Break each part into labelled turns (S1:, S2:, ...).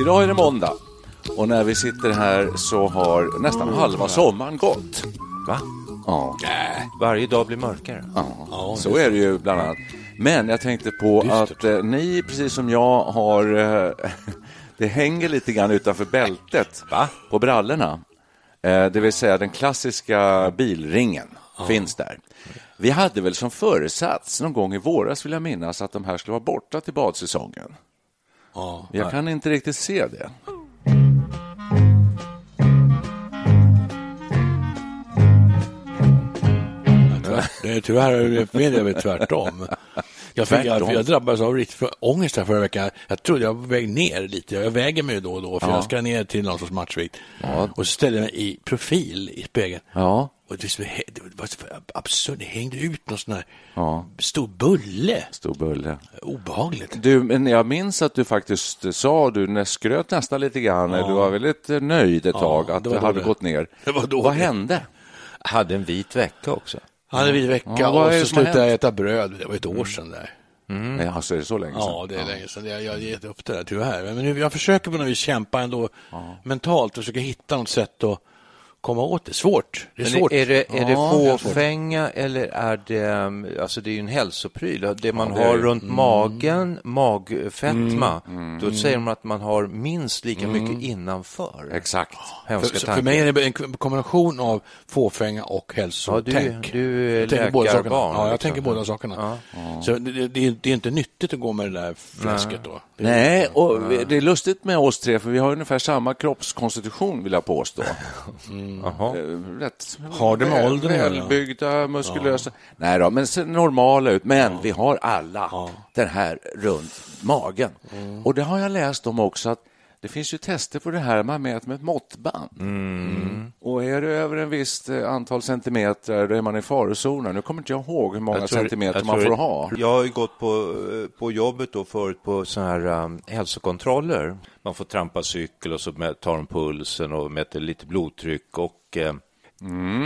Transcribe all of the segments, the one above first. S1: Idag är det måndag och när vi sitter här så har nästan halva sommaren gått.
S2: Va?
S1: Ja,
S2: Varje dag blir mörkare.
S1: ja så är det ju bland annat. Men jag tänkte på att eh, ni, precis som jag, har... Eh, det hänger lite grann utanför bältet
S2: Va?
S1: på brallorna. Eh, det vill säga den klassiska bilringen finns där. Vi hade väl som föresats någon gång i våras, vill jag minnas, att de här skulle vara borta till badsäsongen. jag kan inte riktigt se det.
S3: Det är tyvärr enligt min del tvärtom. Jag, fick,
S1: Tvärtom.
S3: jag, jag drabbades av riktigt för- ångest här förra veckan. Jag trodde jag var på väg ner lite. Jag väger mig ju då och då för jag ska ner till någon sorts matchvikt. Och så ställde jag mig i profil i spegeln.
S1: Ja.
S3: Och det, så- det var så absurt. Det hängde ut någon sån här
S1: Ja.
S3: stor bulle.
S1: Stor bulle.
S3: Obehagligt.
S1: Du, men jag minns att du faktiskt sa, du nä- skröt nästan lite grann, du var väldigt eh, nöjd ett tag att
S3: det
S1: du
S3: var
S1: hade
S3: då det-
S1: gått ner.
S3: det var då
S1: Vad
S3: det-
S1: hände?
S2: Hade en vit vecka också.
S3: Jag hade vid vecka
S1: Ja, vad är
S3: och
S1: det
S3: så
S1: som har
S3: slutade jag
S1: hänt?
S3: äta bröd. Det var ett år sedan där.
S1: Mm. Alltså, är det så länge sedan?
S4: liksom.
S3: Ja, det är länge sedan. Jag jag har gett upp det där tyvärr. Men nu, jag försöker på något vis kämpa ändå mentalt och försöka hitta något sätt att komma åt det. Svårt. Det är
S4: Men
S3: svårt.
S4: Är det, är det
S3: Ja, det är svårt.
S4: fåfänga eller är det, um, alltså det är ju en hälsopryl, det man
S1: det är
S4: har
S1: det.
S4: runt
S3: mm.
S4: magen, magfetma, då säger de att man har minst lika mycket innanför.
S1: Exakt.
S4: Hemska
S3: Mm. För, så för
S4: tankar.
S3: mig är det en kombination av fåfänga och
S4: ja, du,
S3: hälsotänk.
S4: du är
S3: Jag tänker båda sakerna.
S4: läkarbarn.
S3: Ja, jag
S4: liksom.
S3: tänker båda sakerna. Så det, det, det är- det är inte nyttigt att gå med det där fläsket då. Alltså, Det-
S1: Nej, och vi- det är lustigt med oss tre, för vi har ungefär samma kroppskonstitution, vill jag påstå.
S4: Jaha.
S1: Eh, Rätt
S3: Har det med
S1: väl-
S3: åldern att göra?
S1: Välbyggda, muskulösa. Nej då, men ser normala ut. Men vi har alla den här runt magen. Och det har jag läst om också, att det finns ju tester på det här man mäter med ett måttband. Mm. Och är det över en visst eh, antal centimeter, då är man i farozonen. Nu kommer inte jag ihåg hur många
S4: Jag tror-
S1: centimeter
S4: jag
S1: man
S4: tror-
S1: får ha.
S4: Jag har ju gått på, eh, på jobbet då förut på sådana här um, hälsokontroller. Man får trampa cykel och så mä- tar de pulsen och mäter lite blodtryck och eh,
S3: Mm.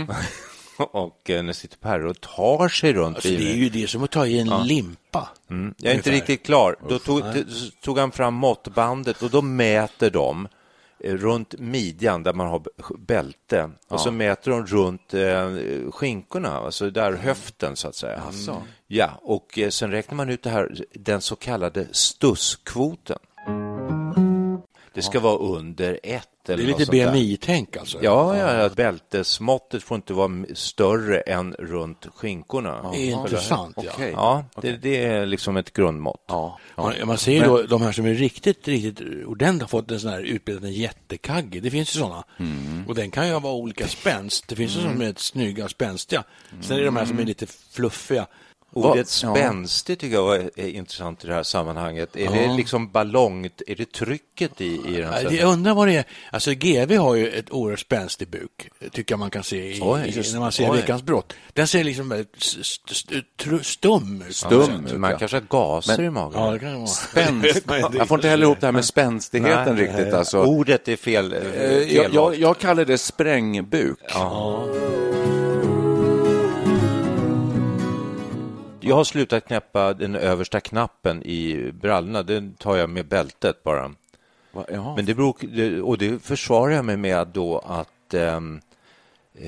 S4: och eh, när sitter Perre och tar sig runt
S3: Alltså, det är
S4: bilen.
S3: ju det som att ta i en limpa.
S4: Mm. Jag är inte riktigt klar. Då tog, t- tog han fram måttbandet och då mäter de eh, runt midjan där man har b- bälte och så mäter de runt eh, skinkorna, alltså där höften så att säga. Ja, och eh, sen räknar man ut det här, den så kallade stusskvoten. Det ska vara under ett
S3: Det
S4: eller
S3: är
S4: något
S3: lite
S4: sånt där.
S3: BMI-tänk alltså.
S4: Ja, ja, ja, bältesmåttet får inte vara m- större än runt skinkorna.
S3: Det är intressant. Ja.
S1: Okej.
S4: Ja, det, det är liksom ett grundmått.
S1: Ja.
S3: Man, man ser ju då de här som är riktigt, riktigt ordentligt har fått en sån här utbildad en jättekagge. Det finns ju sådana. Och den kan ju vara olika spänst. Det finns ju som är snygga och spänstiga. Sen är det de här som är lite fluffiga.
S4: Ordet
S1: Vad- ja.
S4: spänstig tycker jag är, är intressant i det här sammanhanget. Är det liksom ballongt, är det trycket i, i den?
S3: Ja, äh, det-
S4: här-
S3: Jag undrar vad det är. Alltså GV har ju ett oerhört spänstig buk, tycker jag man kan se i,
S4: Oj,
S3: i,
S4: just-
S3: när man ser
S4: oj.
S3: Veckans brott. Den ser liksom väldigt st- st- st- tru- stum ut.
S1: Stum ut,
S4: Man
S1: ja.
S4: kanske har gaser i magen.
S3: Ja, det kan det vara.
S1: Spänst. Jag får inte heller ihop det här med spänstigheten
S4: Nej,
S1: riktigt.
S4: eh,
S1: Alltså.
S4: Ordet är fel. eh,
S1: Eh, jag,
S4: felvalt.
S1: jag, jag kallar det sprängbuk.
S4: Jag har slutat knäppa den översta knappen i brallorna. Den tar jag med bältet bara.
S1: Va- jaha.
S4: Men det beror, det- och det försvarar jag mig med då att ehm, Eh,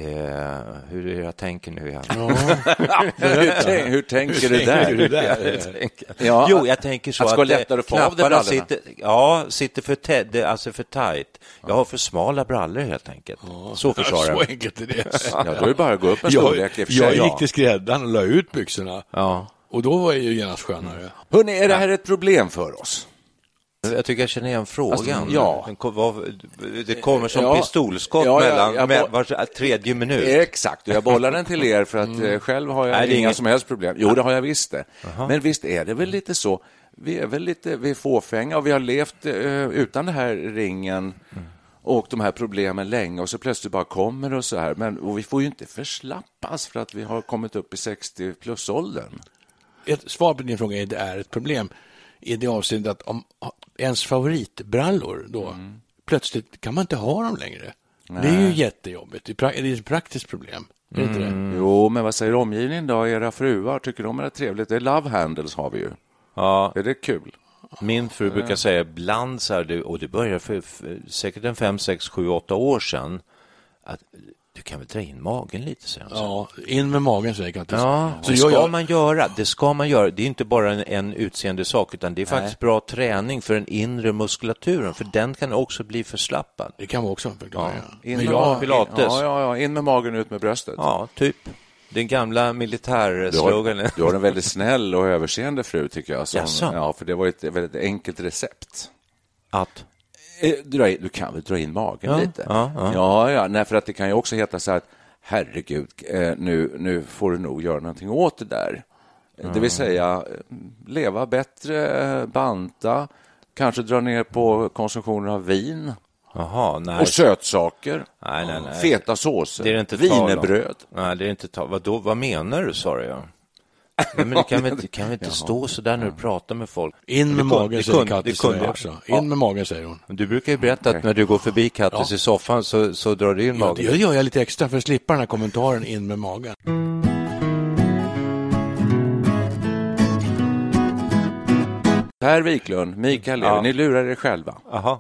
S4: hur är det jag tänker nu igen?
S1: hur, tänk, hur tänker du
S3: tänker du
S1: där?
S3: där?
S1: Ja,
S4: jo, jag tänker så
S1: att det ska
S4: att, eh,
S1: vara lättare att få av dig brallorna.
S4: knapparna sitter, ja, sitter för, tä- det- alltså för tajt. Jag har för smala brallor helt enkelt. Så försvarar jag
S3: Så
S4: mig.
S3: enkelt är det.
S1: Ja, då är det bara att gå upp en
S3: Jag,
S1: storlek i och för
S3: jag
S1: sig.
S3: gick till skräddaren och la ut byxorna.
S4: Ja.
S3: Och då var det ju genast skönare.
S1: Hörrni, är det här ett problem för oss?
S4: Jag tycker jag känner igen frågan. Mm,
S1: Alltså, ja.
S4: Den kom, var, det kommer som
S1: Ja.
S4: pistolskott
S1: Ja, Eh. ja,
S4: mellan
S1: jag
S4: med,
S1: bo-
S4: var tredje minut.
S1: Exakt, och jag bollar den till er för att eh, själv har jag
S4: Mm. Nej, det är
S1: inga
S4: inget-
S1: som helst problem. Jo, det har jag visst det. Men visst är det väl lite så. Vi är väl lite vi är fåfänga och vi har levt eh, utan den här ringen
S4: Mm.
S1: och de här problemen länge och så plötsligt bara kommer och så här. Men och vi får ju inte förslappas för att vi har kommit upp i 60 plus-åldern.
S3: Ett svar på din fråga är det är ett problem. I det avseendet att om ens favoritbrallor då,
S4: Mm.
S3: plötsligt kan man inte ha dem längre. Det är ju jättejobbigt. Det är pra- det är ett praktiskt problem. Är det inte det?
S4: Mm.
S1: Jo, men vad säger omgivningen då? Era fruar, tycker de är det trevligt? Det är love handles har vi ju.
S4: Ja,
S1: Är det kul?
S4: min fru brukar säga ibland så här, du- och det börjar för, för säkert en fem, sex, sju, åtta år sedan, att du kan väl dra in magen lite, säger hon.
S3: Ja, in med magen säger Kattis.
S4: Ja,
S3: så
S4: det
S3: jag,
S4: ska
S3: jag,
S4: man göra. Det ska man göra. Det är inte bara en, en utseende sak utan det är faktiskt bra träning för den inre muskulaturen, för den kan också bli förslappad.
S3: Det kan vara också en förklaring.
S1: In
S3: Men
S1: med
S3: jag,
S1: magen.
S4: Pilates.
S1: Ja, ja, ja, in med magen ut med bröstet.
S4: Ja, typ. Den gamla
S1: Du
S4: militärsloganen.
S1: har, du har en väldigt snäll och överseende fru, tycker jag.
S4: Jaså?
S1: Som, ja, för det var ett väldigt enkelt recept.
S4: Att?
S1: Eh, Dra in, du kan väl dra in magen
S4: Ja,
S1: lite?
S4: ja, ja.
S1: ja, ja nej, för att det kan ju också heta så här att herregud, eh, nu, nu får du nog göra någonting åt det där. Det vill säga eh, leva bättre, eh, banta, kanske dra ner på konsumtionen av vin
S4: Jaha, nej.
S1: och sötsaker,
S4: Nej, nej, nej.
S1: feta såser,
S4: Det är det inte tal om.
S1: vinerbröd.
S4: Nej, det är inte tal Vadå, vad menar du, sa jag. Nej, men du kan väl, du kan väl inte stå så där när du pratar med folk?
S3: in med
S4: Det kun-
S3: magen
S4: det
S3: säger
S4: kunde-
S3: Kattis
S4: det kunde
S3: till mig
S4: jag.
S3: också. In med magen säger hon.
S4: Du brukar ju berätta att när du går förbi Kattis i soffan så, så drar du in
S3: Ja, det
S4: magen.
S3: gör jag lite extra för att slippa den här kommentaren in med magen.
S1: Per Wiklund, Mikael Levi, ni lurar er själva.
S4: Jaha.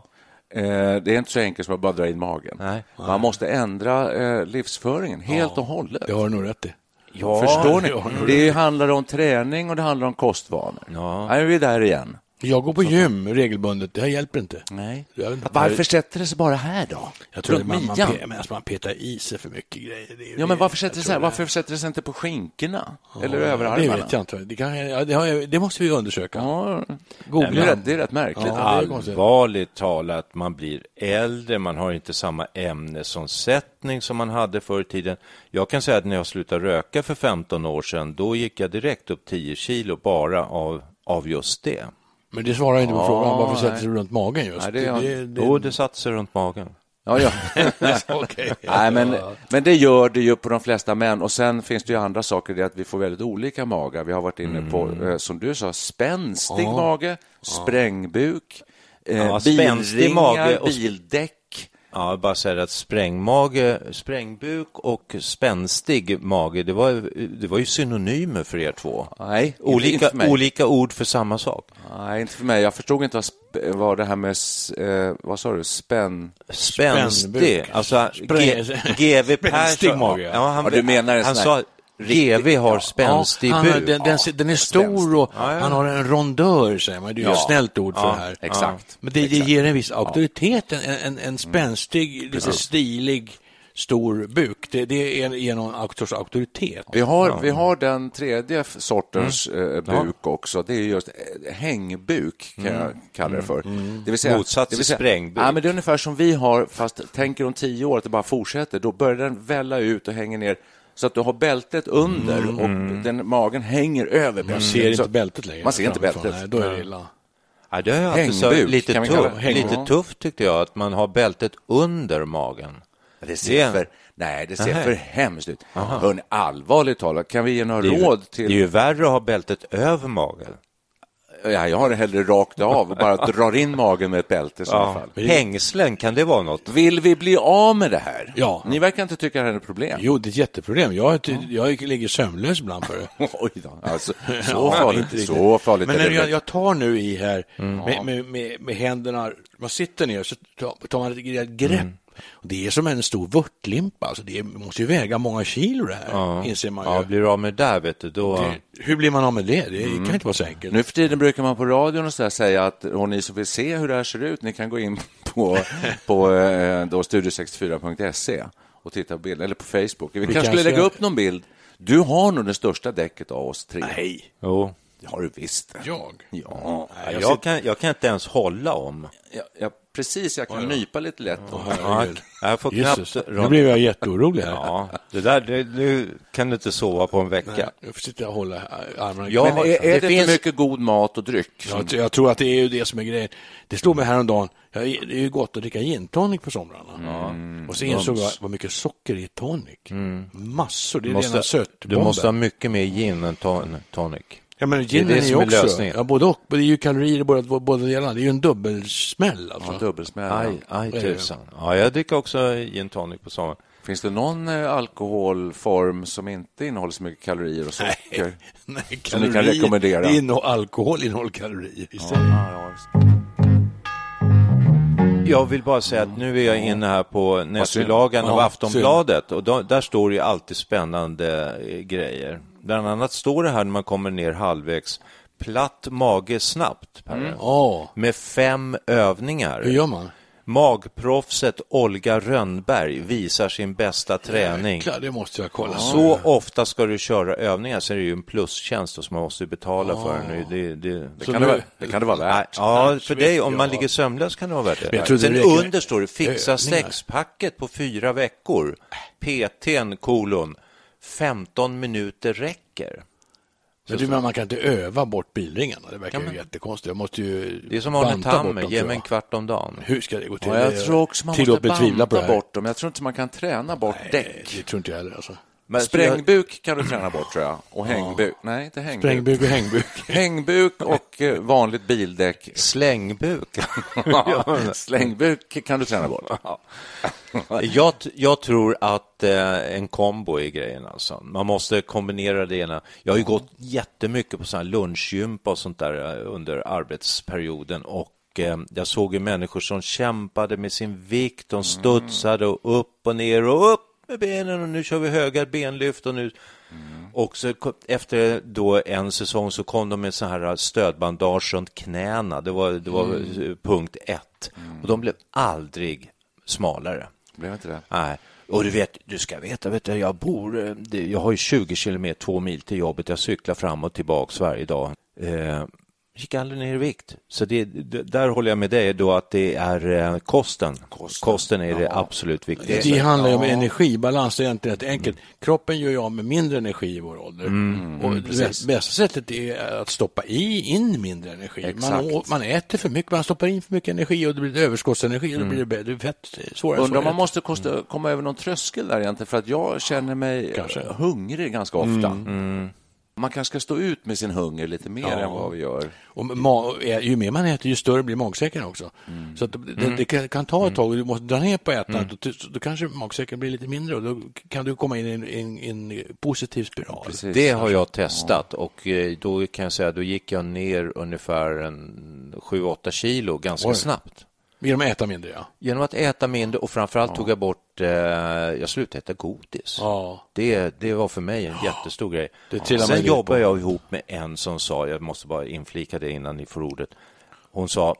S1: Eh, det är inte så enkelt som att bara dra in magen.
S4: Nej.
S1: Man måste ändra eh, livsföringen helt och hållet.
S3: Det har du nog rätt i.
S4: Ja,
S1: Förstår ni?
S3: ja, ja.
S1: Det handlar om träning och det handlar om kostvanor.
S4: Ja.
S1: Nu är vi där igen.
S3: Jag går på gym regelbundet, det här hjälper inte.
S1: Nej.
S3: Jag vet inte.
S1: Varför sätter det sig bara här då?
S3: Jag tror att
S1: Runt
S3: man, man,
S1: midjan?
S3: pe- men alltså man petar i sig för mycket grejer. Det är-
S1: Ja, men varför sätter det
S3: jag
S1: sig här?
S3: tror
S1: Varför sätter det sig inte på skinkorna? Eller
S3: Det
S1: överarmarna?
S3: vet jag inte. Det, kan, ja, det, har jag, det måste vi undersöka.
S1: Ja,
S3: Googla.
S1: det, är rätt, det är rätt märkligt.
S3: Ja. det är konstigt.
S4: Allvarligt talat, man blir äldre, man har inte samma ämnesomsättning som man hade förr i tiden. Jag kan säga att när jag slutade röka för 15 år sedan, då gick jag direkt upp 10 kilo bara av, av just det.
S3: Men det svarar inte på frågan varför
S1: nej.
S3: sätter sig runt magen just.
S1: Nej, det är-
S4: Jo, det satte sig runt magen.
S1: Ja, ja.
S3: Okej.
S1: Nej, men, men det gör det ju på de flesta män. Och sen finns det ju andra saker, det är att vi får väldigt olika magar. Vi har varit inne på,
S4: Mm.
S1: eh, som du sa, spänstig mage, sprängbuk, eh,
S4: Ja, spänstig
S1: bilringar,
S4: mage och-
S1: bildäck.
S4: Ja, jag bara säger att sprängmage, sprängbuk och spänstig mage, det var, det var ju synonymer för er två.
S1: Nej, inte- inte
S4: olika,
S1: för mig.
S4: olika ord för samma sak.
S1: Nej, inte för mig. Jag förstod inte vad, sp- vad det här med, s- eh, vad sa du, spänn...
S4: Spänstig,
S3: Spännbuk.
S4: alltså G-
S3: Spräng-
S4: GV
S3: Spänstig
S4: Persson.
S3: mage, ja.
S4: Ja, han,
S1: Ja, du menar en
S4: han
S1: sån här
S4: sa GV har spänstig
S3: han, har-
S4: buk.
S3: den, den, den är stor och han har en rondör säger man. Det är ju ett snällt ord för det här.
S1: exakt. Mm.
S3: Men det, det ger en viss auktoritet, en, en, en spänstig, lite stilig, stor buk. Det, det är- ger någon aktors auktoritet.
S1: Vi har, vi har den tredje f- sortens
S4: Mm.
S1: eh, buk också. Det är just eh, hängbuk, kan jag kalla det för. Det vill
S4: Mm. Motsats
S1: det vill
S4: till sprängbuk.
S1: Ja, men det är ungefär som vi har, fast tänker om tio år att det bara fortsätter. Då börjar den välla ut och hänger ner så att du har bältet under
S4: Mm.
S1: och den, magen hänger över bältet.
S3: Man ser
S1: Mm. Så-
S3: inte bältet längre.
S1: Man ser inte
S3: framifrån.
S1: bältet.
S3: Nej, då är det illa.
S4: Ja, det har jag alltid sagt.
S1: Hängbuk,
S4: lite,
S1: kan vi kalla det.
S4: tuff,
S1: Hängbuk.
S4: lite tufft tyckte jag, att man har bältet under magen.
S1: Det ser
S4: Det är-
S1: för, nej, det ser
S4: Nähä.
S1: för hemskt ut. Hörni, allvarligt talat, kan vi ge några
S4: Det är, ju,
S1: råd
S4: det
S1: till...
S4: är ju värre att ha bältet över magen.
S1: Ja, jag har det hellre rakt av och bara drar in magen med ett bälte i så fall.
S4: Hängslen, kan det vara något?
S1: Vill vi bli av med det här?
S3: Ja.
S1: Ni verkar inte tycka det här är ett problem.
S3: Jo, det är ett jätteproblem. Jag, är ty- jag ligger sömnlös ibland för det.
S1: Oj då. Alltså, så
S3: Ja, inte
S1: farligt,
S3: riktigt.
S1: så farligt
S3: Men
S1: är
S3: när
S1: det
S3: jag,
S1: inte.
S3: jag tar nu
S1: Mm. Mm.
S3: i här med, med, med, med händerna, man sitter ner så tar tar man ett rejält grepp Och det är som en stor vörtlimpa, alltså det måste ju väga många kilo det här, inser man ju.
S4: Ja, blir du av med det där, vet du, då...
S3: Det- Hur blir man av med det? Det kan inte vara så enkelt.
S1: Mm. Nu för tiden brukar man på radion och så där säga att och ni som vill se hur det här ser ut, ni kan gå in på, på eh, då studio64.se och titta på bilder, eller på Facebook. Vi, kanske skulle
S3: kanske-
S1: lägga upp någon bild. Du har nog det största däcket av oss tre.
S3: Nej,
S4: Jo.
S1: Det har du visst.
S3: jag?
S1: Ja,
S4: Jag, jag, kan, jag kan inte ens hålla om.
S1: jag, jag, precis. Jag kan nypa lite lätt.
S3: Herregud.
S4: Jag får
S3: Jesus,
S4: knappt...
S3: nu blev jag jätteorolig här.
S4: Ja, det där, det, nu kan du inte sova på en vecka.
S3: Jag får sitta och hålla äh, armarna i
S4: Ja,
S3: kors.
S1: Men är, är det,
S4: det
S1: för
S4: finns-
S1: mycket god mat och dryck?
S3: Jag, jag tror att det är ju det som är grejen. Det slog mig häromdagen, jag, det är ju gott att dricka gin tonic på somrarna.
S4: Mm.
S3: Och så insåg jag vad mycket socker är i tonic. Massor, det är rena
S4: du Mm. måste ha
S3: sötbomben.
S4: mycket mer gin än ton, tonic.
S3: Ja men
S4: det är
S3: ginen
S4: det
S3: är ju
S4: som är
S3: också,
S4: lösningen.
S3: ja, både och, det är ju kalorier i båda, båda delarna. Det är ju en dubbelsmäll alltså.
S1: Ja, Dubbelsmäll.
S4: Aj, aj
S3: Vad är det?
S4: tusan. Ja, jag dricker också gin tonic på sommaren.
S1: Finns det någon eh, alkoholform som inte innehåller så mycket kalorier och socker?
S3: Nej,
S1: Som ni kan rekommendera.
S3: det innehåller alkohol innehåller kalorier istället.
S4: Jag vill bara säga att nu är jag inne här på nätbilagan av
S3: Ja,
S4: Aftonbladet och då, där står det ju alltid spännande eh, grejer. Bland annat står det här när man kommer ner halvvägs, platt mage snabbt, Perre.
S3: Ja,
S4: med fem övningar.
S3: hur gör man?
S4: Magproffset Olga Rönnberg visar sin bästa träning.
S3: Jäklar, det måste jag kolla.
S4: Så ofta ska du köra övningar så är det ju en plustjänst då som man måste betala för. Nu. Det, det, det
S1: Kan det, vara- det kan det vara värt.
S4: Ja, för dig, om man ligger sömnlös kan det vara värt det.
S3: Men jag tror det
S4: Sen
S3: räcker med
S4: under står det fixa
S3: övningar."
S4: sexpacket på fyra veckor. PTn kolon 15 minuter räcker.
S3: Men du, men man kan inte öva bort bilringarna, det verkar ju jättekonstigt. Jag måste ju
S4: Det är som Arne
S3: banta bort
S4: Tammer,
S3: dem,
S4: ge
S3: tror
S4: mig en
S3: jag.
S4: kvart om dagen.
S3: Hur ska det gå till?
S1: Ja, jag tror också man måste
S3: betvivla på det
S1: banta
S3: här.
S1: bort dem. Jag tror inte man kan träna bort
S3: Nej,
S1: däck.
S3: det tror inte jag heller. Alltså.
S4: Men så
S1: Sprängbuk kan du träna bort tror jag. Och hängbuk. Nej, inte hängbuk.
S3: Sprängbuk och hängbuk.
S1: Hängbuk och eh, vanligt bildäck.
S4: jag- Slängbuk.
S1: Ja, Slängbuk kan du träna bort.
S4: jag, t- jag tror att eh, en kombo är grejen alltså. Man måste kombinera det ena. Jag har ju gått jättemycket på sådana lunchgympa och sånt där eh, under arbetsperioden och eh, jag såg ju människor som kämpade med sin vikt, de studsade och upp och ner och upp med benen och nu kör vi höga benlyft och nu och så kom- efter då en säsong så kom de med så här eh, stödbandage runt knäna. Det var, det var eh, punkt ett. Och de blev aldrig smalare.
S1: Blev inte det?
S4: Nej. Och du vet, du ska veta, vet du, jag bor, eh, det- jag har ju 20 kilometer, två mil till jobbet, jag cyklar fram och tillbaks varje dag. Eh, gick aldrig ner i vikt. Så det, det, där håller jag med dig då att det är eh, kosten. Kosten, är det absolut viktigaste.
S3: Det handlar ju om energibalans, det är egentligen rätt enkelt. Kroppen gör ju av med mindre energi i vår ålder.
S1: mm,
S3: och det bästa- bästa sättet är att stoppa i, in mindre energi. Man, å- man äter för mycket, man stoppar in för mycket energi och det blir ett överskottsenergi och då blir det bättre fett. Svårare
S1: Mm. Undrar om
S3: svårare.
S1: man måste kosta,
S4: Mm.
S1: komma över någon tröskel där egentligen, för att jag känner mig eh, hungrig ganska ofta.
S4: Mm.
S1: Mm. Man kanske ska stå ut med sin hunger lite mer än vad vi gör.
S3: Och ma- ä- ju mer man äter, ju större blir magsäcken också.
S4: Mm.
S3: Så att det, det, det kan- kan ta ett tag och du måste dra ner på ätandet. och ty- så- Då kanske magsäcken blir lite mindre och då kan du komma in i en, en, en positiv spiral.
S4: Det har jag testat och eh, då kan jag säga då gick jag ner ungefär en 7-8 kilo ganska
S3: Oj.
S4: snabbt.
S3: Genom att äta mindre, ja.
S4: Genom att äta mindre och framförallt tog jag bort, eh, jag slutade äta godis.
S3: Ja.
S4: Det, det var för mig en jättestor grej.
S3: Det trillar man
S4: Sen
S3: ju
S4: jobbar
S3: på.
S4: jag ihop med en som sa, jag måste bara inflika det innan ni får ordet. Hon sa,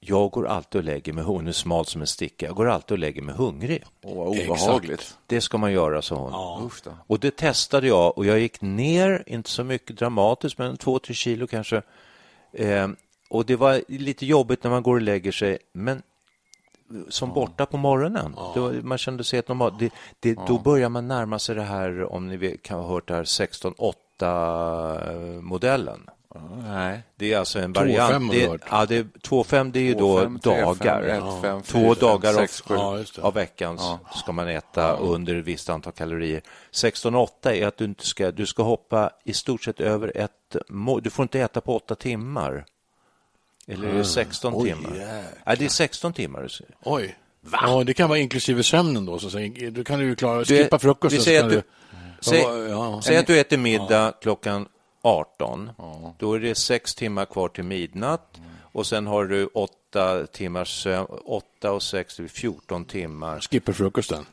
S4: jag går alltid och lägger mig, hon är smal som en sticka, jag går alltid och lägger mig hungrig.
S1: Åh, vad obehagligt.
S4: Det ska man göra, sa hon.
S1: Usch då.
S4: Och det testade jag och jag gick ner, inte så mycket dramatiskt, men 2-3 kilo kanske. Eh, och det var lite jobbigt när man går och lägger sig, men som borta på morgonen. Då, man kände sig helt normal. Det, det, Då börjar man närma sig det här, om ni vet- kan ha hört det här, eh, 16-8-modellen.
S1: Nej.
S4: Det är alltså en
S3: 2,5 har
S4: variant. Det,
S3: du hört.
S4: ja, det, 2,5 det är ju då
S1: 2,5, 3,5,
S4: dagar.
S1: 1,5,
S4: Ja.
S1: 4,5,
S4: Två dagar
S1: 6,7.
S4: av,
S3: Ja, just det.
S4: av veckan s- ska man äta under ett visst antal kalorier. 16,8 är att du inte ska, du ska hoppa i stort sett över ett mål. Du får inte äta på åtta timmar. Eller
S3: Ah,
S4: är det 16 timmar? Nej, det är 16 timmar. du säger.
S3: Oj. Ja, det kan vara inklusive sömnen då. Så, så, då kan du ju klara,
S4: Du är-
S3: skippa frukosten.
S4: vi säger
S3: så
S4: att
S3: kan
S4: du- Säg,
S3: Ja, ja.
S4: säg att du äter middag klockan 18. Då är det sex timmar kvar till midnatt och sen har du åt, åtta timmars sömn, åtta och sex, det blir 14 timmar.
S3: Skipper frukosten.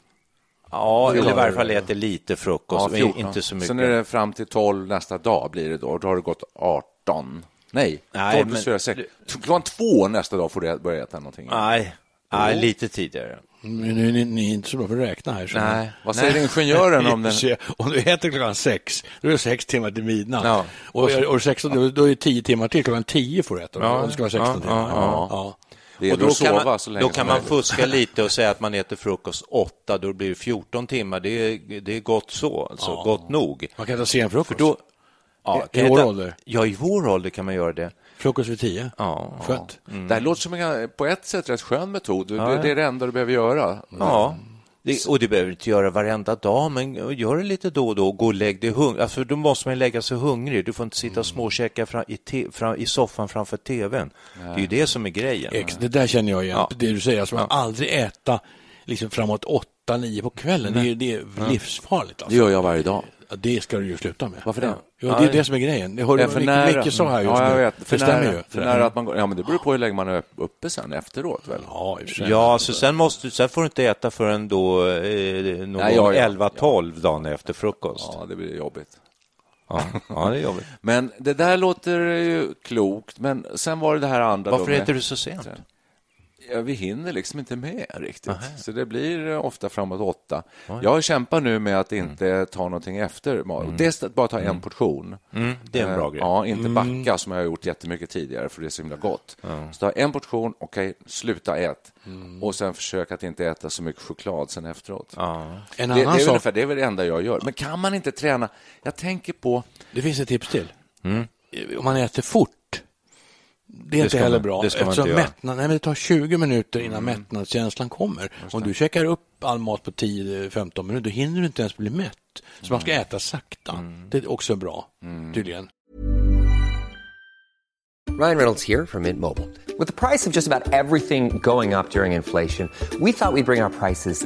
S4: Ja, eller i varje fall äter lite frukost, men
S1: 14.
S4: inte så mycket.
S1: Sen är det fram till 12 nästa dag blir det då. Då har det gått 18. Nej,
S4: Nej,
S1: 12 plus
S4: men-
S1: 4, 6. Klockan två nästa dag får du börja äta någonting. Mm.
S4: Nej, nej lite tidigare.
S3: Men nu är ni, ni är inte så bra på att räkna här. Så
S1: Nej. Vad säger ingenjören om den?
S3: Om du äter klockan sex, då är det sex timmar till midnatt.
S1: Ja.
S3: Och, och 16, då- då är det tio timmar till. Klockan tio får du äta, om det ska vara 16
S4: ja,
S3: timmar.
S1: ja. Det
S4: Och
S1: gäller
S4: då
S1: att sova
S4: kan, man,
S1: så länge
S4: då
S1: som
S4: kan man
S1: möjligt.
S4: fuska lite och säga att man äter frukost åtta, då blir det 14 timmar. Det är, det är gott så, alltså, gott nog.
S3: Man kan äta sen frukost.
S4: Då, ja,
S3: I- i
S4: jag
S3: vår
S4: äta-
S3: ålder?
S4: Ja, i vår ålder kan man göra det.
S3: Frukost vid tio.
S4: Ja.
S3: Skönt.
S1: Mm. Det här låter som en på ett sätt rätt skön metod. Det, det är det enda du behöver göra.
S4: Ja. Det, och det behöver du inte göra varenda dag, men gör det lite då och då. Gå och lägg dig hungrig. Alltså, då måste man lägga sig hungrig. Du får inte sitta och
S1: Mm.
S4: småkäka fram, i, te, fram, i soffan framför tvn. Det är ju det som är grejen.
S3: Ex, det där känner jag igen, det du säger. Alltså, man aldrig äta liksom framåt åtta, nio på kvällen. Det är, det är livsfarligt.
S1: Det
S3: Alltså.
S1: gör jag varje dag.
S3: Ja, Det ska du ju sluta med.
S1: Varför det?
S3: Ja, det är det som är grejen. Det hör
S1: Ja,
S3: du
S1: för
S3: Micke-
S1: nära.
S3: Micke sa här just
S1: ja, jag
S3: nu.
S1: vet. För
S3: det stämmer
S1: nära,
S3: ju.
S1: För nära att man går, ja, men det beror på hur länge man är uppe sen efteråt. Väl?
S3: Ja, i och för sig.
S4: Ja, så sen, måste, sen får du inte äta förrän då eh, någon
S1: Nej, ja, ja.
S4: 11-12 dagen efter frukost. Ja.
S1: Ja, det blir jobbigt.
S4: Ja. det är jobbigt.
S1: Men det där låter ju klokt, men sen var det det här andra.
S4: Varför
S1: då med-
S4: äter du så sent?
S1: Ja, vi hinner liksom inte med riktigt, så det blir eh, ofta framåt åtta. Jag kämpar nu med att
S3: Mm.
S1: inte ta någonting efter mat. Dels att bara ta en portion.
S3: Mm.
S4: det är en bra
S1: Eh,
S4: grej.
S1: Ja, inte backa som jag har gjort jättemycket tidigare, för det är så himla gott. Så ta en portion, okej, sluta ät.
S3: Mm.
S1: Och sen försöka att inte äta så mycket choklad sen efteråt.
S3: En
S1: Det, det, är
S3: annan
S1: väl
S3: sak
S1: ungefär, det är väl det enda jag gör. Men kan man inte träna? Jag tänker på...
S3: Det finns ett tips till. Om man äter fort, det är inte
S4: ska
S3: heller
S4: man-
S3: bra.
S4: Mm. det ska man
S3: eftersom
S4: inte göra. Mm.
S3: mättnad, nej, men det tar 20 minuter innan mättnadskänslan kommer. Om du käkar upp all mat på 10-15 minuter, då hinner du inte ens bli mätt. Så man ska
S4: Mm.
S3: äta sakta. Det är också bra, tydligen.
S2: Ryan Reynolds here from Mint Mobile. With the price of just about everything going up during inflation, we thought we'd bring our prices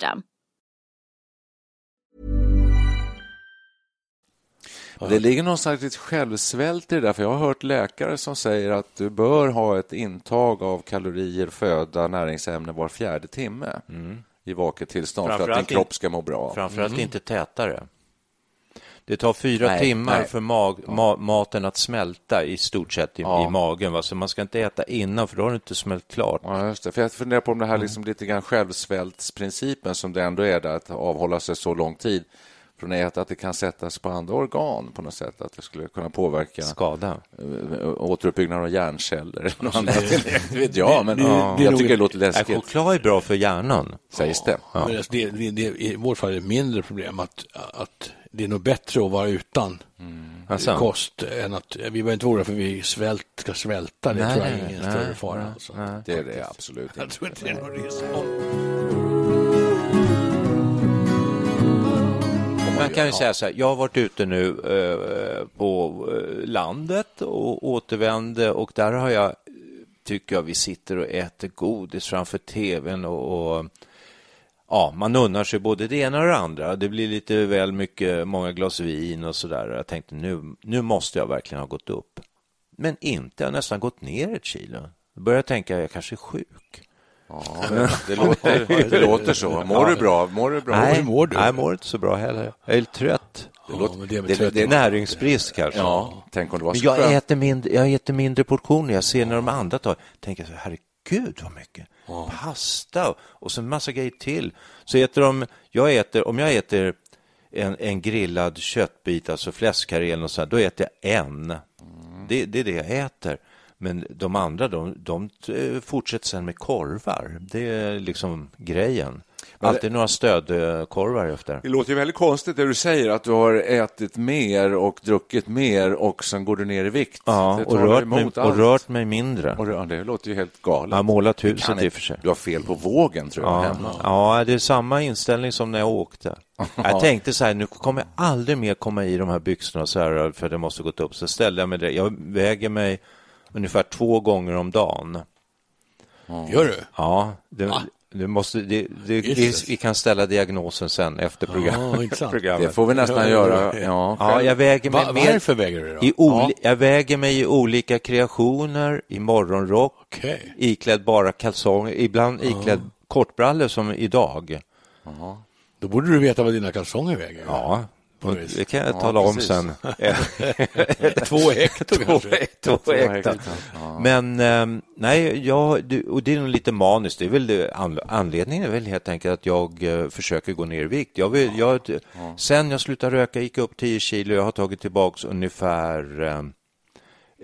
S1: Det ligger någon slags litet självsvält i det där, för jag har hört läkare som säger att du bör ha ett intag av kalorier, föda, näringsämnen var fjärde timme i vaket tillstånd för att din
S4: Mm. Framförallt
S1: kropp
S4: i-
S1: ska må bra.
S4: Framförallt inte tätare. Det tar fyra
S1: Mm. Nej,
S4: timmar
S1: nej.
S4: för mag, ma, maten att smälta i stort sett i, i magen. Va? Så man ska inte äta innan för då har det inte smält klart.
S1: Ja, just det. För jag funderar på om det här liksom lite grann självsvältsprincipen som det ändå är, där, att avhålla sig så lång tid från att äta, att det kan sättas på andra organ på något sätt, att det skulle kunna påverka
S4: Skada.
S1: eh, återuppbyggnad av hjärnceller. eller något annat. Det vet jag, men
S3: det-
S1: ja,
S3: det är
S1: jag
S3: nog-
S1: tycker det låter
S4: Nej,
S1: läskigt,
S4: choklad är bra för hjärnan.
S1: sägs det.
S3: Men alltså, det, det, det, I vårt fall är det ett mindre problem att, att det är nog bättre att vara utan
S4: Alltså.
S3: kost än att vi behöver inte vara oroliga för vi svält, ska svälta. Det tror jag är ingen större fara. alltså.
S1: Det är det absolut inte.
S3: Jag tror inte det är någon risk.
S4: man kan ju säga så här, jag har varit ute nu eh, på eh, landet och återvände och där har jag, tycker jag, vi sitter och äter godis framför tvn och, och ja, man unnar sig både det ena och det andra. Det blir lite väl mycket, många glas vin och sådär. Jag tänkte nu, nu måste jag verkligen ha gått upp. Men inte, jag har nästan gått ner ett kilo. Då började jag tänka, jag kanske är sjuk.
S1: Det låter, det låter så. Mår du bra? Mår du bra?
S4: Nej,
S3: mår du?
S4: Nej, jag mår inte så bra heller. Jag är lite trött.
S3: Det låter- men det är väl
S4: det,
S3: trött.
S4: det är näringsbrist kanske.
S1: Ja, tänk om det var
S4: Men
S1: så skönt.
S4: jag äter, mindre, jag äter mindre portioner. Jag ser när de andra tar. Tänker så här, herregud vad mycket. Pasta och- och så en massa grejer till. Så äter de, jag äter, om jag äter en, en grillad köttbit, alltså fläskkarré eller något sånt, då äter jag en.
S1: Mm.
S4: Det, det är det jag äter. Men de andra, de, de eh, fortsätter sen med korvar. Det är liksom grejen. Alltid några stödkorvar efter.
S1: Det låter ju väldigt konstigt det du säger, att du har ätit mer och druckit mer och sen går du ner i vikt.
S4: Ja,
S1: det
S4: och
S1: talar
S4: rört, mig,
S1: emot allt.
S4: och rört mig mindre.
S1: Och rör- det låter ju helt galet.
S4: Jag har målat
S1: Du kan
S4: huset i och
S1: inte-
S4: för sig.
S1: Du har fel på vågen, tror jag,
S4: Ja,
S1: hemma.
S4: ja, det är samma inställning som när jag åkte. Jag tänkte så här, nu kommer jag aldrig mer komma i de här byxorna så här, för det måste gått upp. Så ställde jag mig direkt. Jag väger mig ungefär två gånger om dagen.
S3: Gör du?
S4: Ja, det, det måste, det, det, vi,
S3: Jesus.
S4: vi kan ställa diagnosen sen efter program,
S3: Ja, intressant.
S1: Det
S4: programmet.
S1: får vi nästan göra. Ja,
S4: Ja, jag väger mig
S3: Va,
S4: mer
S3: varför väger du det då?
S4: i oli- Jag väger mig i olika kreationer, i morgonrock,
S3: Okej.
S4: iklädd bara kalsonger, ibland iklädd kortbrallor som idag.
S3: Då borde du veta vad dina kalsonger väger.
S4: Ja,
S3: På något vis.
S4: det kan jag tala om
S1: precis.
S4: sen.
S3: Två hekto kanske.
S4: Två äkta.
S1: äkta.
S4: Men ehm, nej, jag, det- och det är nog lite maniskt. Det är väl det, an- anledningen är väl helt enkelt att jag eh, försöker gå ner i vikt. Jag vill, jag, Sen jag slutade röka gick jag upp 10 kilo. Jag har tagit tillbaks ungefär ehm,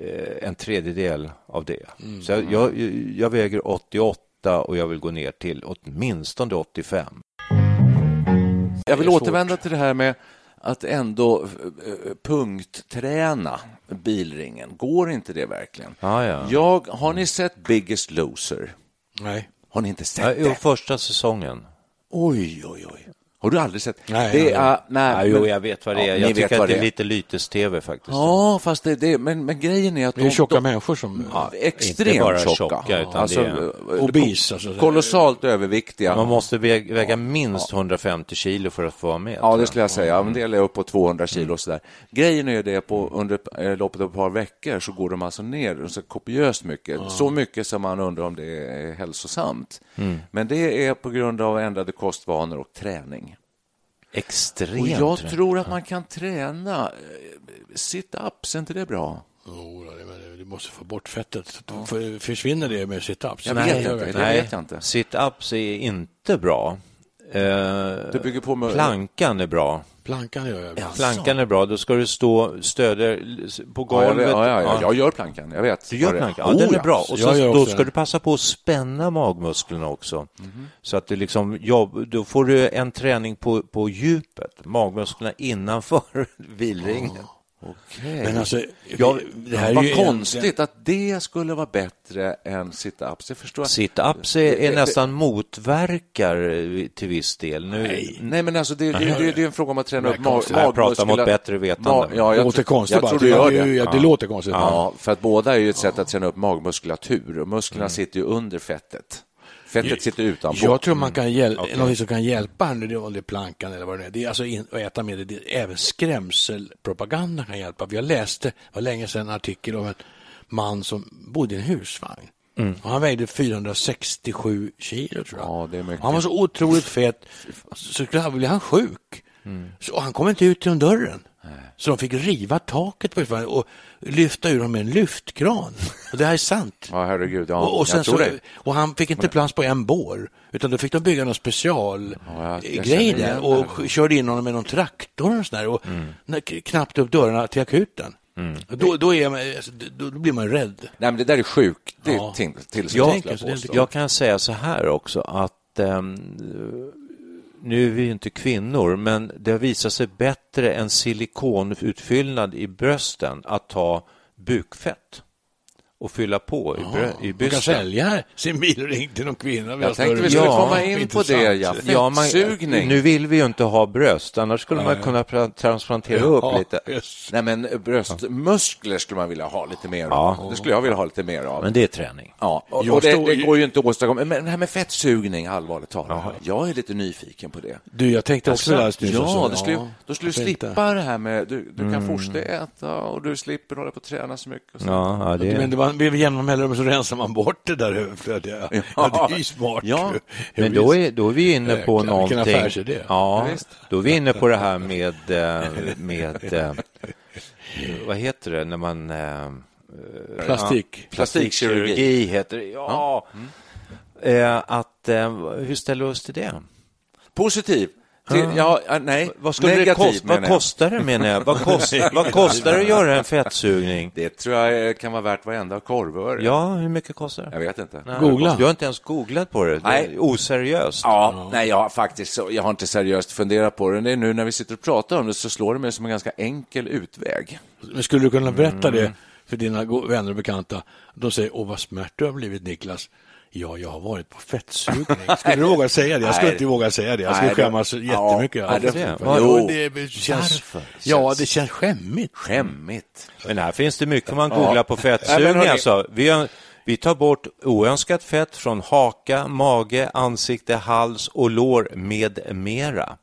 S4: eh, en tredjedel av det. Så jag, jag, jag väger 88 och jag vill gå ner till åtminstone 85.
S1: Jag vill återvända till det här med att ändå eh, punktträna bilringen. Går inte det verkligen?
S4: Ja, ja.
S1: Jag, har ni sett Biggest Loser?
S3: Nej.
S1: Har ni inte sett
S4: Ja,
S1: det?
S4: och första säsongen.
S1: Oj, oj, oj. Har du aldrig sett?
S3: Nej,
S1: det
S3: nej,
S1: är, nej,
S4: Ja, jo,
S1: men-
S4: jag vet vad det är.
S1: Ja, ni
S4: jag
S1: vet
S4: tycker
S1: vad
S4: att det är
S1: det är.
S4: lite lytes-tv faktiskt.
S1: Ja, fast det, det men, men grejen är att
S3: Det är ju
S1: de-
S3: tjocka
S1: de-
S3: människor som...
S1: Ja,
S4: Inte bara
S1: extremt tjocka.
S4: tjocka, utan
S1: alltså,
S4: det är-
S1: eh,
S3: Obese, alltså.
S1: Kolossalt överviktiga.
S4: Man måste vä- väga minst 150 kilo för att få vara med.
S1: Ja,
S4: tror
S1: det
S4: jag.
S1: skulle jag säga.
S4: Mm.
S1: En del är upp på 200 kilo och sådär. Grejen är ju det på under eh, loppet av ett par veckor så går de alltså ner så kopiöst mycket. Så mycket som man undrar om det är hälsosamt.
S4: Mm.
S1: Men det är på grund av ändrade kostvanor och träning.
S4: Extremt.
S1: Och jag tror att man kan träna eh, sit-ups, är inte det bra?
S3: Jo, då, det- men du måste få bort fettet. Så att- för- Försvinner det med sit-ups?
S1: Jag
S3: Nej,
S1: vet inte.
S3: verkligen.
S1: Det vet jag inte.
S4: Sit-ups är inte bra. Eh,
S1: Det bygger på med...
S4: plankan är bra.
S3: Plankan gör jag.
S1: Alltså.
S3: ibland.
S4: Plankan är bra. Då ska du stå, stödja på
S1: Ja, jag,
S4: golvet.
S1: vet- ja, ja, ja, jag gör plankan, jag vet.
S4: Du gör
S1: vad det är.
S4: plankan? Ja, den
S1: Oh,
S4: är bra. Och
S3: Jag gör
S4: så, då
S3: också
S4: ska
S3: den.
S4: du passa på att spänna magmusklerna också. Så att det liksom, jobb, då får du en träning på, på djupet, magmusklerna innanför vilringen.
S1: Okej.
S3: Men alltså,
S1: Ja,
S3: det här är
S1: vad
S3: ju
S1: konstigt att det skulle vara bättre än sit-ups. Det förstår jag.
S4: Sit-ups är, är nästan motverkar eh, till viss del. Nu,
S1: Nej, men alltså det, det, det, det är en fråga om att träna upp mag,
S3: konstigt.
S4: Jag pratar mot
S1: magmuskula-
S4: bättre vetande.
S1: Ma- ja,
S3: Det
S1: jag, tror-
S3: låter konstigt
S1: jag
S3: bara.
S1: tror du gör det.
S3: Ja, det låter konstigt.
S1: Ja, för att båda är ju ett sätt att träna upp magmuskulatur och musklerna sitter ju under fettet. Fettet sitter Mm, utanpå.
S3: Jag tror man kan hjälpa, någonting som kan hjälpa här nu, det är om det är plankan eller vad det är, det är alltså in, att äta med det, det är även skrämselpropaganda kan hjälpa. För jag läste, det var länge sedan, en artikel om en man som bodde i en husvagn. Och han vägde 467 kilo tror jag.
S1: Mm. Ja, det är mycket.
S3: Han var så otroligt fet, så skulle han, blev han sjuk.
S1: Mm.
S3: Så han kom inte ut genom dörren. Så de fick riva taket på husvagnen och lyfta ur honom med en lyftkran. Och det här är sant.
S1: Ja, herregud. Ja,
S3: Och, och, sen
S1: jag tror
S3: så,
S1: det.
S3: och han fick inte plats på en bår, utan då fick de bygga någon
S1: Ja, jag- jag
S3: specialgrej
S1: känner
S3: där
S1: igen
S3: och
S1: det. Mm.
S3: sk- körde in honom med någon traktor och sådär och när- k- knappt upp dörrarna till akuten. Då, då, är man, alltså, då, då blir man rädd.
S1: Nej, men Mm. det där är sjukt. Det är
S3: Ja.
S1: till, tillstånd.
S3: Jag-
S1: skulle
S3: så det är inte
S1: påstå.
S4: Jag kan säga så här också att ehm, nu är vi ju inte kvinnor, men det har visat sig bättre än silikonutfyllnad i brösten att ta bukfett. och fylla på i, brö- i
S3: Man kan
S4: bysten.
S3: sälja sin bilring till någon kvinna.
S1: Jag tänkte vi skulle
S4: Ja,
S1: komma in på det, ja.
S4: Ja, man,
S1: Fettsugning.
S4: nu vill vi ju inte ha bröst, annars skulle man kunna pra- transplantera upp lite.
S3: Yes.
S1: Nej, men bröstmuskler skulle man vilja ha lite mer av. Det skulle jag vilja ha lite mer av.
S4: Men det är träning.
S1: Ja, och,
S3: Jag
S1: och det,
S3: står
S1: det
S3: ju-
S1: går ju inte att åstadkomma. Men det här med fettsugning, allvarligt talat. Jag är lite nyfiken på det.
S3: Du, jag tänkte också det alldeles nyss.
S1: Ja,
S3: Alltså,
S1: det skulle, ju- då skulle du
S3: varför inte?
S1: slippa det här med... Du, du kan fortsätta och du slipper hålla på och träna så mycket. Och så.
S4: Ja, ja, det
S3: Men
S4: är...
S3: det var, med jämna mellanrum så rensar man bort det där överflödiga. Ja. det är ju smart.
S1: Ja.
S4: Men då är, då är vi inne på
S3: Jäklar, vilken
S4: någonting.
S3: affärsidé.
S4: Ja,
S1: Ja, visst.
S4: då är vi inne på det här med, eh, med eh, vad heter det när man, eh,
S3: Plastik.
S4: plastikkirurgi heter det. Ja. Eh, Att, eh, hur ställer vi oss till det?
S1: Positiv. Till, ja, ja, nej,
S4: Vad, skulle
S1: negativ
S4: det kosta?
S1: menar
S4: vad
S1: jag.
S4: kostar det menar jag? Vad, kost, vad kostar det att göra en fettsugning?
S1: Det tror jag eh, kan vara värt varenda korvöre.
S4: Ja, hur mycket kostar det?
S1: Jag vet inte.
S4: Nej,
S3: Googla.
S4: Jag har inte ens googlat på det. Nej. Det
S1: Nej.
S4: är oseriöst.
S1: Ja, nej, jag har faktiskt så, jag har inte seriöst funderat på det. Det är nu när vi sitter och pratar om det så slår det mig som en ganska enkel utväg.
S3: Men skulle du kunna berätta det för dina go- vänner och bekanta? De säger, åh vad smärt du har blivit Niklas. Ja, jag har varit på fettsugning. Skulle du våga säga det? Jag skulle
S1: Nej.
S3: inte våga säga det. Jag skulle
S1: Nej, det-
S3: skämmas jättemycket.
S1: Ja, varför det? Jo.
S3: Jo, det känns,
S4: Varför?
S3: ja, det känns skämmigt.
S1: Skämmigt.
S4: Men här finns det mycket man googlar på
S1: Nej, men
S4: fettsugning.
S1: hörni-
S4: Alltså. Vi, vi tar bort oönskat fett från haka, mage, ansikte, hals och lår med mera.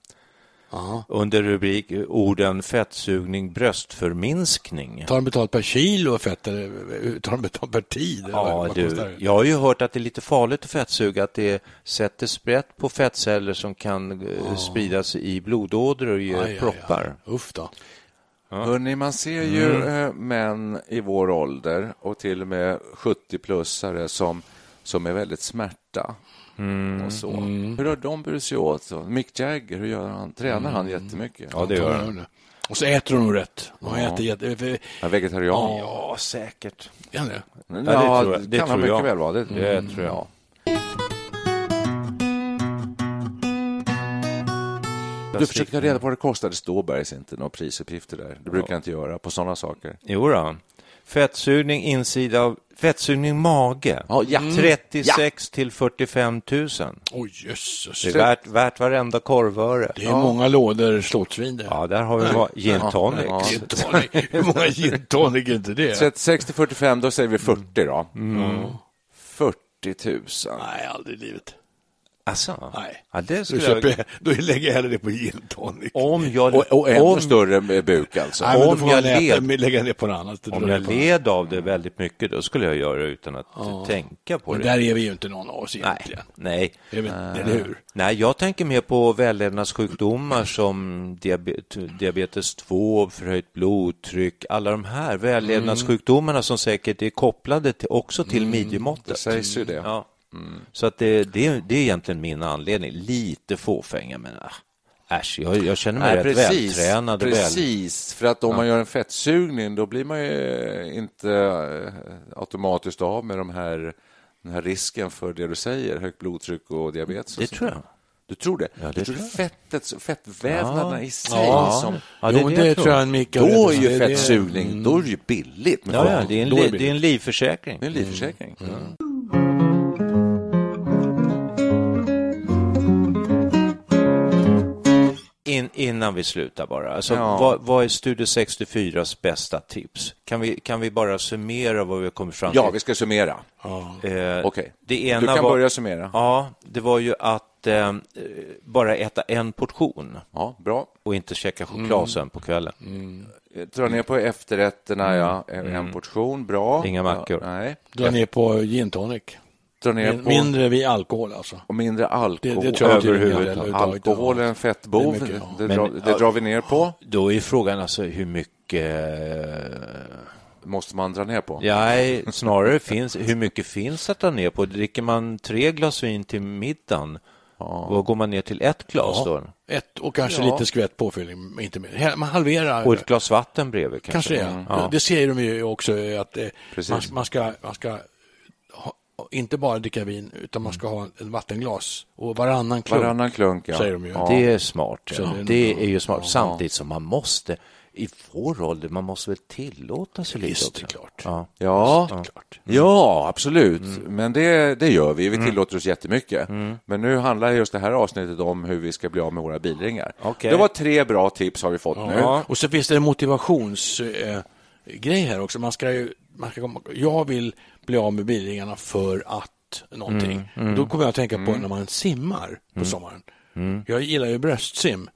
S4: Under rubrik orden fettsugning, bröstförminskning.
S3: Tar de betalt per kilo fett eller eh, tar de betalt per tid? Eller vad-
S4: Ja,
S3: vad kostar
S4: du.
S3: det?
S4: Jag har ju hört att det är lite farligt att fettsuga, att det sätter sprätt på fettceller som kan eh, spridas i blodådror och ge
S3: Aj, aj, aj.
S4: proppar.
S3: Uff då.
S1: Hörrni, man ser ju eh, män i vår ålder och till och med 70-plussare som, som är väldigt smärta. Och så. Hur har de burit sig åt? Så? Mick Jagger, hur gör han? Tränar han jättemycket?
S4: Ja, det gör
S3: Ja,
S4: den.
S3: det. Och så äter de nog rätt. De äter jätte... eh, för-
S1: Han är vegetarian.
S4: Ja, säkert.
S3: Ja, det.
S1: Ja,
S4: det tror jag.
S1: det,
S4: Det
S1: kan han
S4: tror jag.
S1: mycket väl vara. Det,
S4: Det tror jag.
S1: Du försöker ta reda på vad det kostar. Det står bergs inte några prisuppgifter där. Det brukar jag inte göra på sådana saker.
S4: Jo då. Fettsugning insida av fettsugning mage.
S1: Ja, ja.
S4: 36 till 45 000.
S3: Oj, jösses.
S4: Det är värt, värt varenda korvöre.
S3: Det är många lådor slottsvin det.
S4: Ja, där har vi va- gin tonic.
S3: Gin tonic. Hur många gin tonic är inte det?
S1: 36 till 45, då säger vi 40 då. Mm. 40 000.
S3: Nej, aldrig i livet.
S4: Alltså,
S3: Nej.
S4: Ja, det
S3: Då,
S4: skulle jag...
S3: köper jag, då lägger jag hellre det på gin tonic.
S4: Om jag,
S1: Och, och ännu
S4: om,
S1: större buk alltså.
S3: Nej, men då
S4: om
S3: får man
S4: jag
S3: äta,
S4: led-
S3: men lägga det på något annat.
S4: om jag led av det väldigt mycket, då skulle jag göra det utan att tänka på
S3: Men
S4: det.
S3: där är vi ju inte någon av oss
S4: Nej,
S3: egentligen.
S4: nej.
S3: Nej. Eller hur?
S4: Nej, jag tänker mer på vällevnadssjukdomar som diabet- diabetes 2, förhöjt blodtryck, alla de här vällevnadssjukdomarna som säkert är kopplade till, också till
S1: Mm, Det
S4: midjemåttet. Mm,
S1: sägs ju det. Mm.
S4: Ja. Så att det, det, det är egentligen min anledning. Lite fåfänga, men äh, äsch, jag, jag känner mig
S1: Nej,
S4: rätt
S1: precis,
S4: vältränad. och Väl.
S1: precis, för att om man gör en fettsugning då blir man ju eh, inte eh, automatiskt av med de här, den här risken för det du säger, högt blodtryck och diabetes. och
S4: Det
S1: sånt
S4: tror
S1: där.
S4: jag.
S1: Du tror det?
S4: det
S1: du tror,
S4: tror jag.
S1: fettet, fettvävnaderna i sig
S3: Ja.
S1: som...
S4: Ja, det är
S3: jo,
S4: det
S3: det,
S4: jag tror.
S3: tror jag Micke har
S1: Då är
S3: rätt i.
S1: ju
S3: Det- det-
S1: fettsugning, då är det ju billigt. med
S4: Ja, ja,
S1: fett.
S4: det, är en
S3: Då är
S4: li,
S3: det-
S4: det är en livförsäkring.
S1: Det är en livförsäkring. Mm.
S4: In, innan vi slutar bara, alltså,
S1: Ja.
S4: vad, vad är Studio 64s bästa tips? Kan vi, kan vi bara summera vad vi har kommit fram
S1: Ja, vi
S4: till?
S1: ska summera.
S4: Eh,
S1: Okej.
S4: Det ena
S1: Du kan
S4: var,
S1: börja summera.
S4: Ja, det var ju att eh, eh, bara äta en portion
S1: Ja, bra. Eh,
S4: och inte käka choklad
S1: Mm.
S4: sen på kvällen.
S1: Dra ner på efterrätterna, ja. En en portion, bra.
S4: Mm. Inga mackor.
S1: Ja, nej.
S3: Dra ner på gin tonic.
S1: Dra ner
S3: Min,
S1: på...
S3: mindre vid alkohol alltså.
S1: och mindre alkohol.
S3: Det- det tror jag inte
S1: överhuvudtaget.
S3: det gäller överhuvudtaget.
S1: Alkohol är en fettbov,
S3: Det
S1: det,
S3: är mycket, ja.
S1: drar,
S4: Men-
S1: det drar vi ner på.
S4: Då är frågan alltså hur mycket, eh,
S1: måste man dra ner på.
S4: nej, snarare finns, hur mycket finns att ta ner på? Dricker man tre glas vin till middagen, vad går man ner till ett glas då?
S3: Ett och kanske lite skvätt påfyllning, men inte mer. Hel- Man halverar.
S4: Och ett glas vatten bredvid kanske?
S3: Kanske det, ja. Det säger de ju också eh, att eh, man, man ska, man ska ha, och inte bara dricka vin, utan man ska ha en vattenglas och varannan klunk.
S1: Mm. Varannan klunk, ja.
S3: Säger de ju.
S1: Ja.
S4: Det är smart.
S3: Så
S4: Ja.
S3: det är-
S4: Det är ju smart. Samtidigt som man måste, i vår ålder, man måste väl tillåta sig lite
S3: Visst, det
S4: också.
S3: är klart.
S4: Ja.
S1: Ja, ja absolut. Men det, det gör vi. Vi tillåter oss jättemycket. Men nu handlar just det här avsnittet om hur vi ska bli av med våra bilringar.
S4: Okej.
S1: Det var tre bra tips har vi fått nu.
S3: Ja. Och så finns det en motivationsgrej eh, grej här också. Man ska ju, man ska komma, jag vill bli av med bilringarna för att någonting. Då kommer jag att tänka på när man simmar på sommaren. Jag gillar ju bröstsim.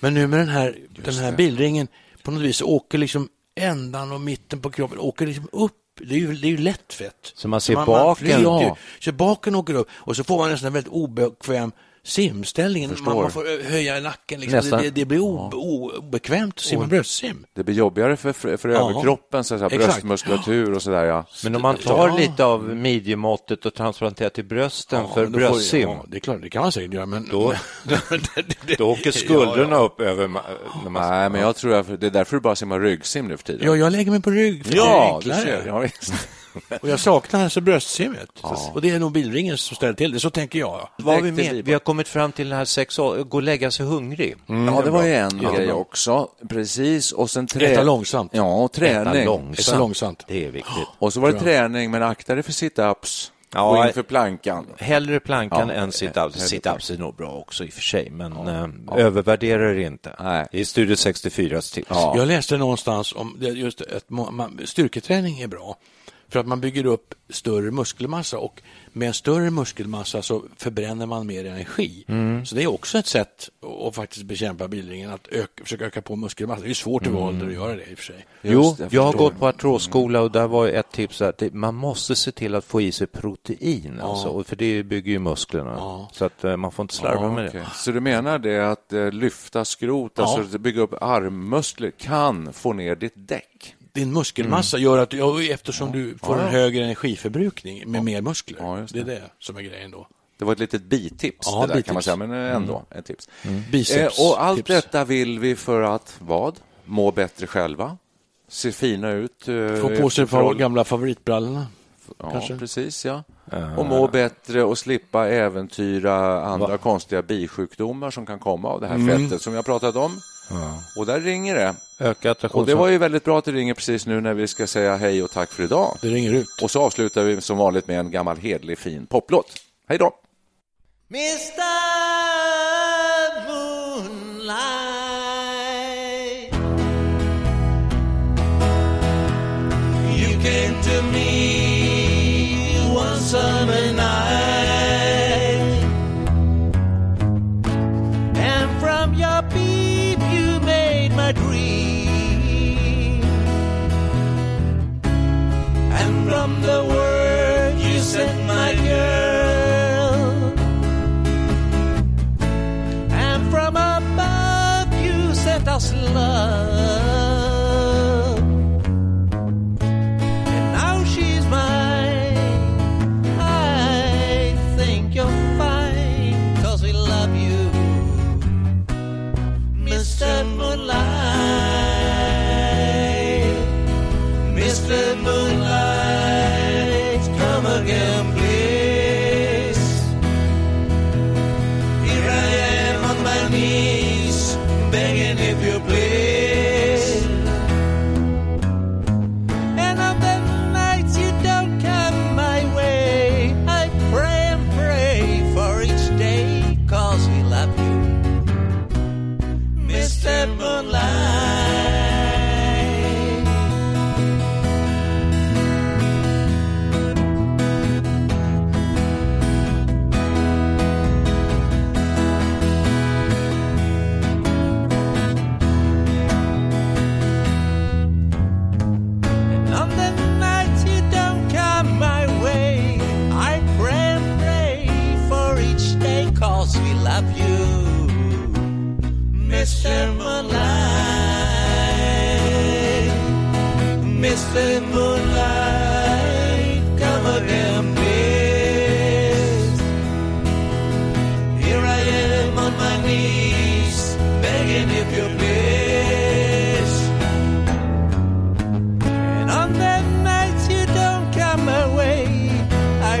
S3: Men nu med den här, den här bilringen, på något vis åker liksom ändan och mitten på kroppen, åker liksom upp. Det är ju, det är ju lätt fett.
S4: Så man ser baken,
S3: flyger ju.
S4: ja.
S3: Så baken åker upp och så får man nästan en väldigt obekväm simställning. Man, man får höja nacken. Liksom.
S4: Nästan.
S3: Det, det, det blir obe, o- obekvämt att simma bröstsim.
S1: Det blir jobbigare för, för, för
S3: Ja.
S1: överkroppen, så att säga,
S3: Exakt.
S1: bröstmuskulatur och sådär. Ja.
S4: Men om man tar lite av midjemåttet och transplanterar till brösten för
S3: då får-
S4: bröstsim,
S3: Ja, det är klart, det kan man säkert göra, men...
S4: Då- då åker skuldrorna upp över ma- när man
S1: Nej, men jag tror att det är därför du bara simmar ryggsim nu för tiden.
S3: Ja, jag lägger mig på rygg, för det är
S1: ja, du
S3: enklare.
S1: ser. Ja, visst.
S3: Och jag saknar alltså bröstsimmet. Och det är nog bilringen som ställer till det, så tänker jag.
S4: Vad har vi,
S1: Direkt till
S4: med?
S1: Liban.
S4: vi har kommit fram till den här sex gå och lägga sig hungrig.
S1: Mm. ja, det var ju en grej också. Precis. Och sen trä...
S3: Äta långsamt.
S1: Ja, och träning.
S4: Äta
S3: Äta långsamt.
S4: Det är viktigt.
S1: Och så var det träning, men akta dig för sit-ups.
S4: Ja,
S1: Gå in för plankan.
S4: Hellre plankan
S1: Ja, eh,
S4: än sit-ups.
S1: hellre
S4: Sit-ups är nog bra också i och för sig, men eh, övervärdera det inte.
S1: Nej.
S4: Det är Studio 64s tips.
S3: Jag läste någonstans om det, just att må- man, styrketräning är bra för att man bygger upp större muskelmassa och med en större muskelmassa så förbränner man mer energi.
S1: Mm.
S3: Så det är också ett sätt att- att faktiskt bekämpa bilringen, att öka, försöka öka på muskelmassa. Det är ju svårt i vår ålder
S1: Mm.
S3: att göra det i och för sig.
S4: Jo,
S1: Just det, jag
S4: jag har
S1: förstår.
S4: gått på artrosskola och där var ett tips att det- man måste se till att få i sig protein, alltså, och för det bygger ju musklerna. Så att eh, man får inte slarva med
S1: Okej.
S4: det.
S1: Så du menar det att eh, lyfta skrot, alltså bygga upp armmuskler, kan få ner ditt däck?
S3: Din muskelmassa
S1: Mm.
S3: gör att, ja, eftersom du får en högre energiförbrukning med mer muskler,
S1: Ja, just
S3: det. är det som är grejen då.
S1: Det var ett litet bitips,
S3: Ja,
S1: det där
S3: bitips.
S1: kan man säga, men eh, ändå ett tips.
S3: Biceps,
S1: Eh, och allt
S3: tips.
S1: detta vill vi för att vad? Må bättre själva, se fina ut. eh,
S3: Få på sig
S1: efter
S3: ett par
S1: förhåll-
S3: gamla favoritbrallorna.
S1: Ja,
S3: kanske.
S1: precis ja. Och må bättre och slippa äventyra andra konstiga bisjukdomar som kan komma av det här fettet som jag pratat om. Och där ringer det.
S4: Öka
S1: Och det
S4: attraktionsförmågan.
S1: var ju väldigt bra att det ringer precis nu när vi ska säga hej och tack för idag.
S3: Det ringer ut.
S1: Och så avslutar vi som vanligt med en gammal hedlig fin poplåt. Hej då!
S5: Mr. Moonlight. You came to me one summer night, and from your beam you made my dream, and from the word you said, my girl. And from above you sent us love. And now she's mine. I think you're fine. Cause we love you, Mr. Moonlight. Mr. Moonlight, come again, please. Here I am on my knees, begging if you please. And on the nights you don't come my way, I pray and pray for each day, cause we love you, Mr. Moonlight. On the nights you don't come my way, I pray and pray for each day, cause we love you, Mr. Moonlight. Mr. Moonlight, come again, please. Here I am on my knees, begging if you please. And on the nights you don't come away, I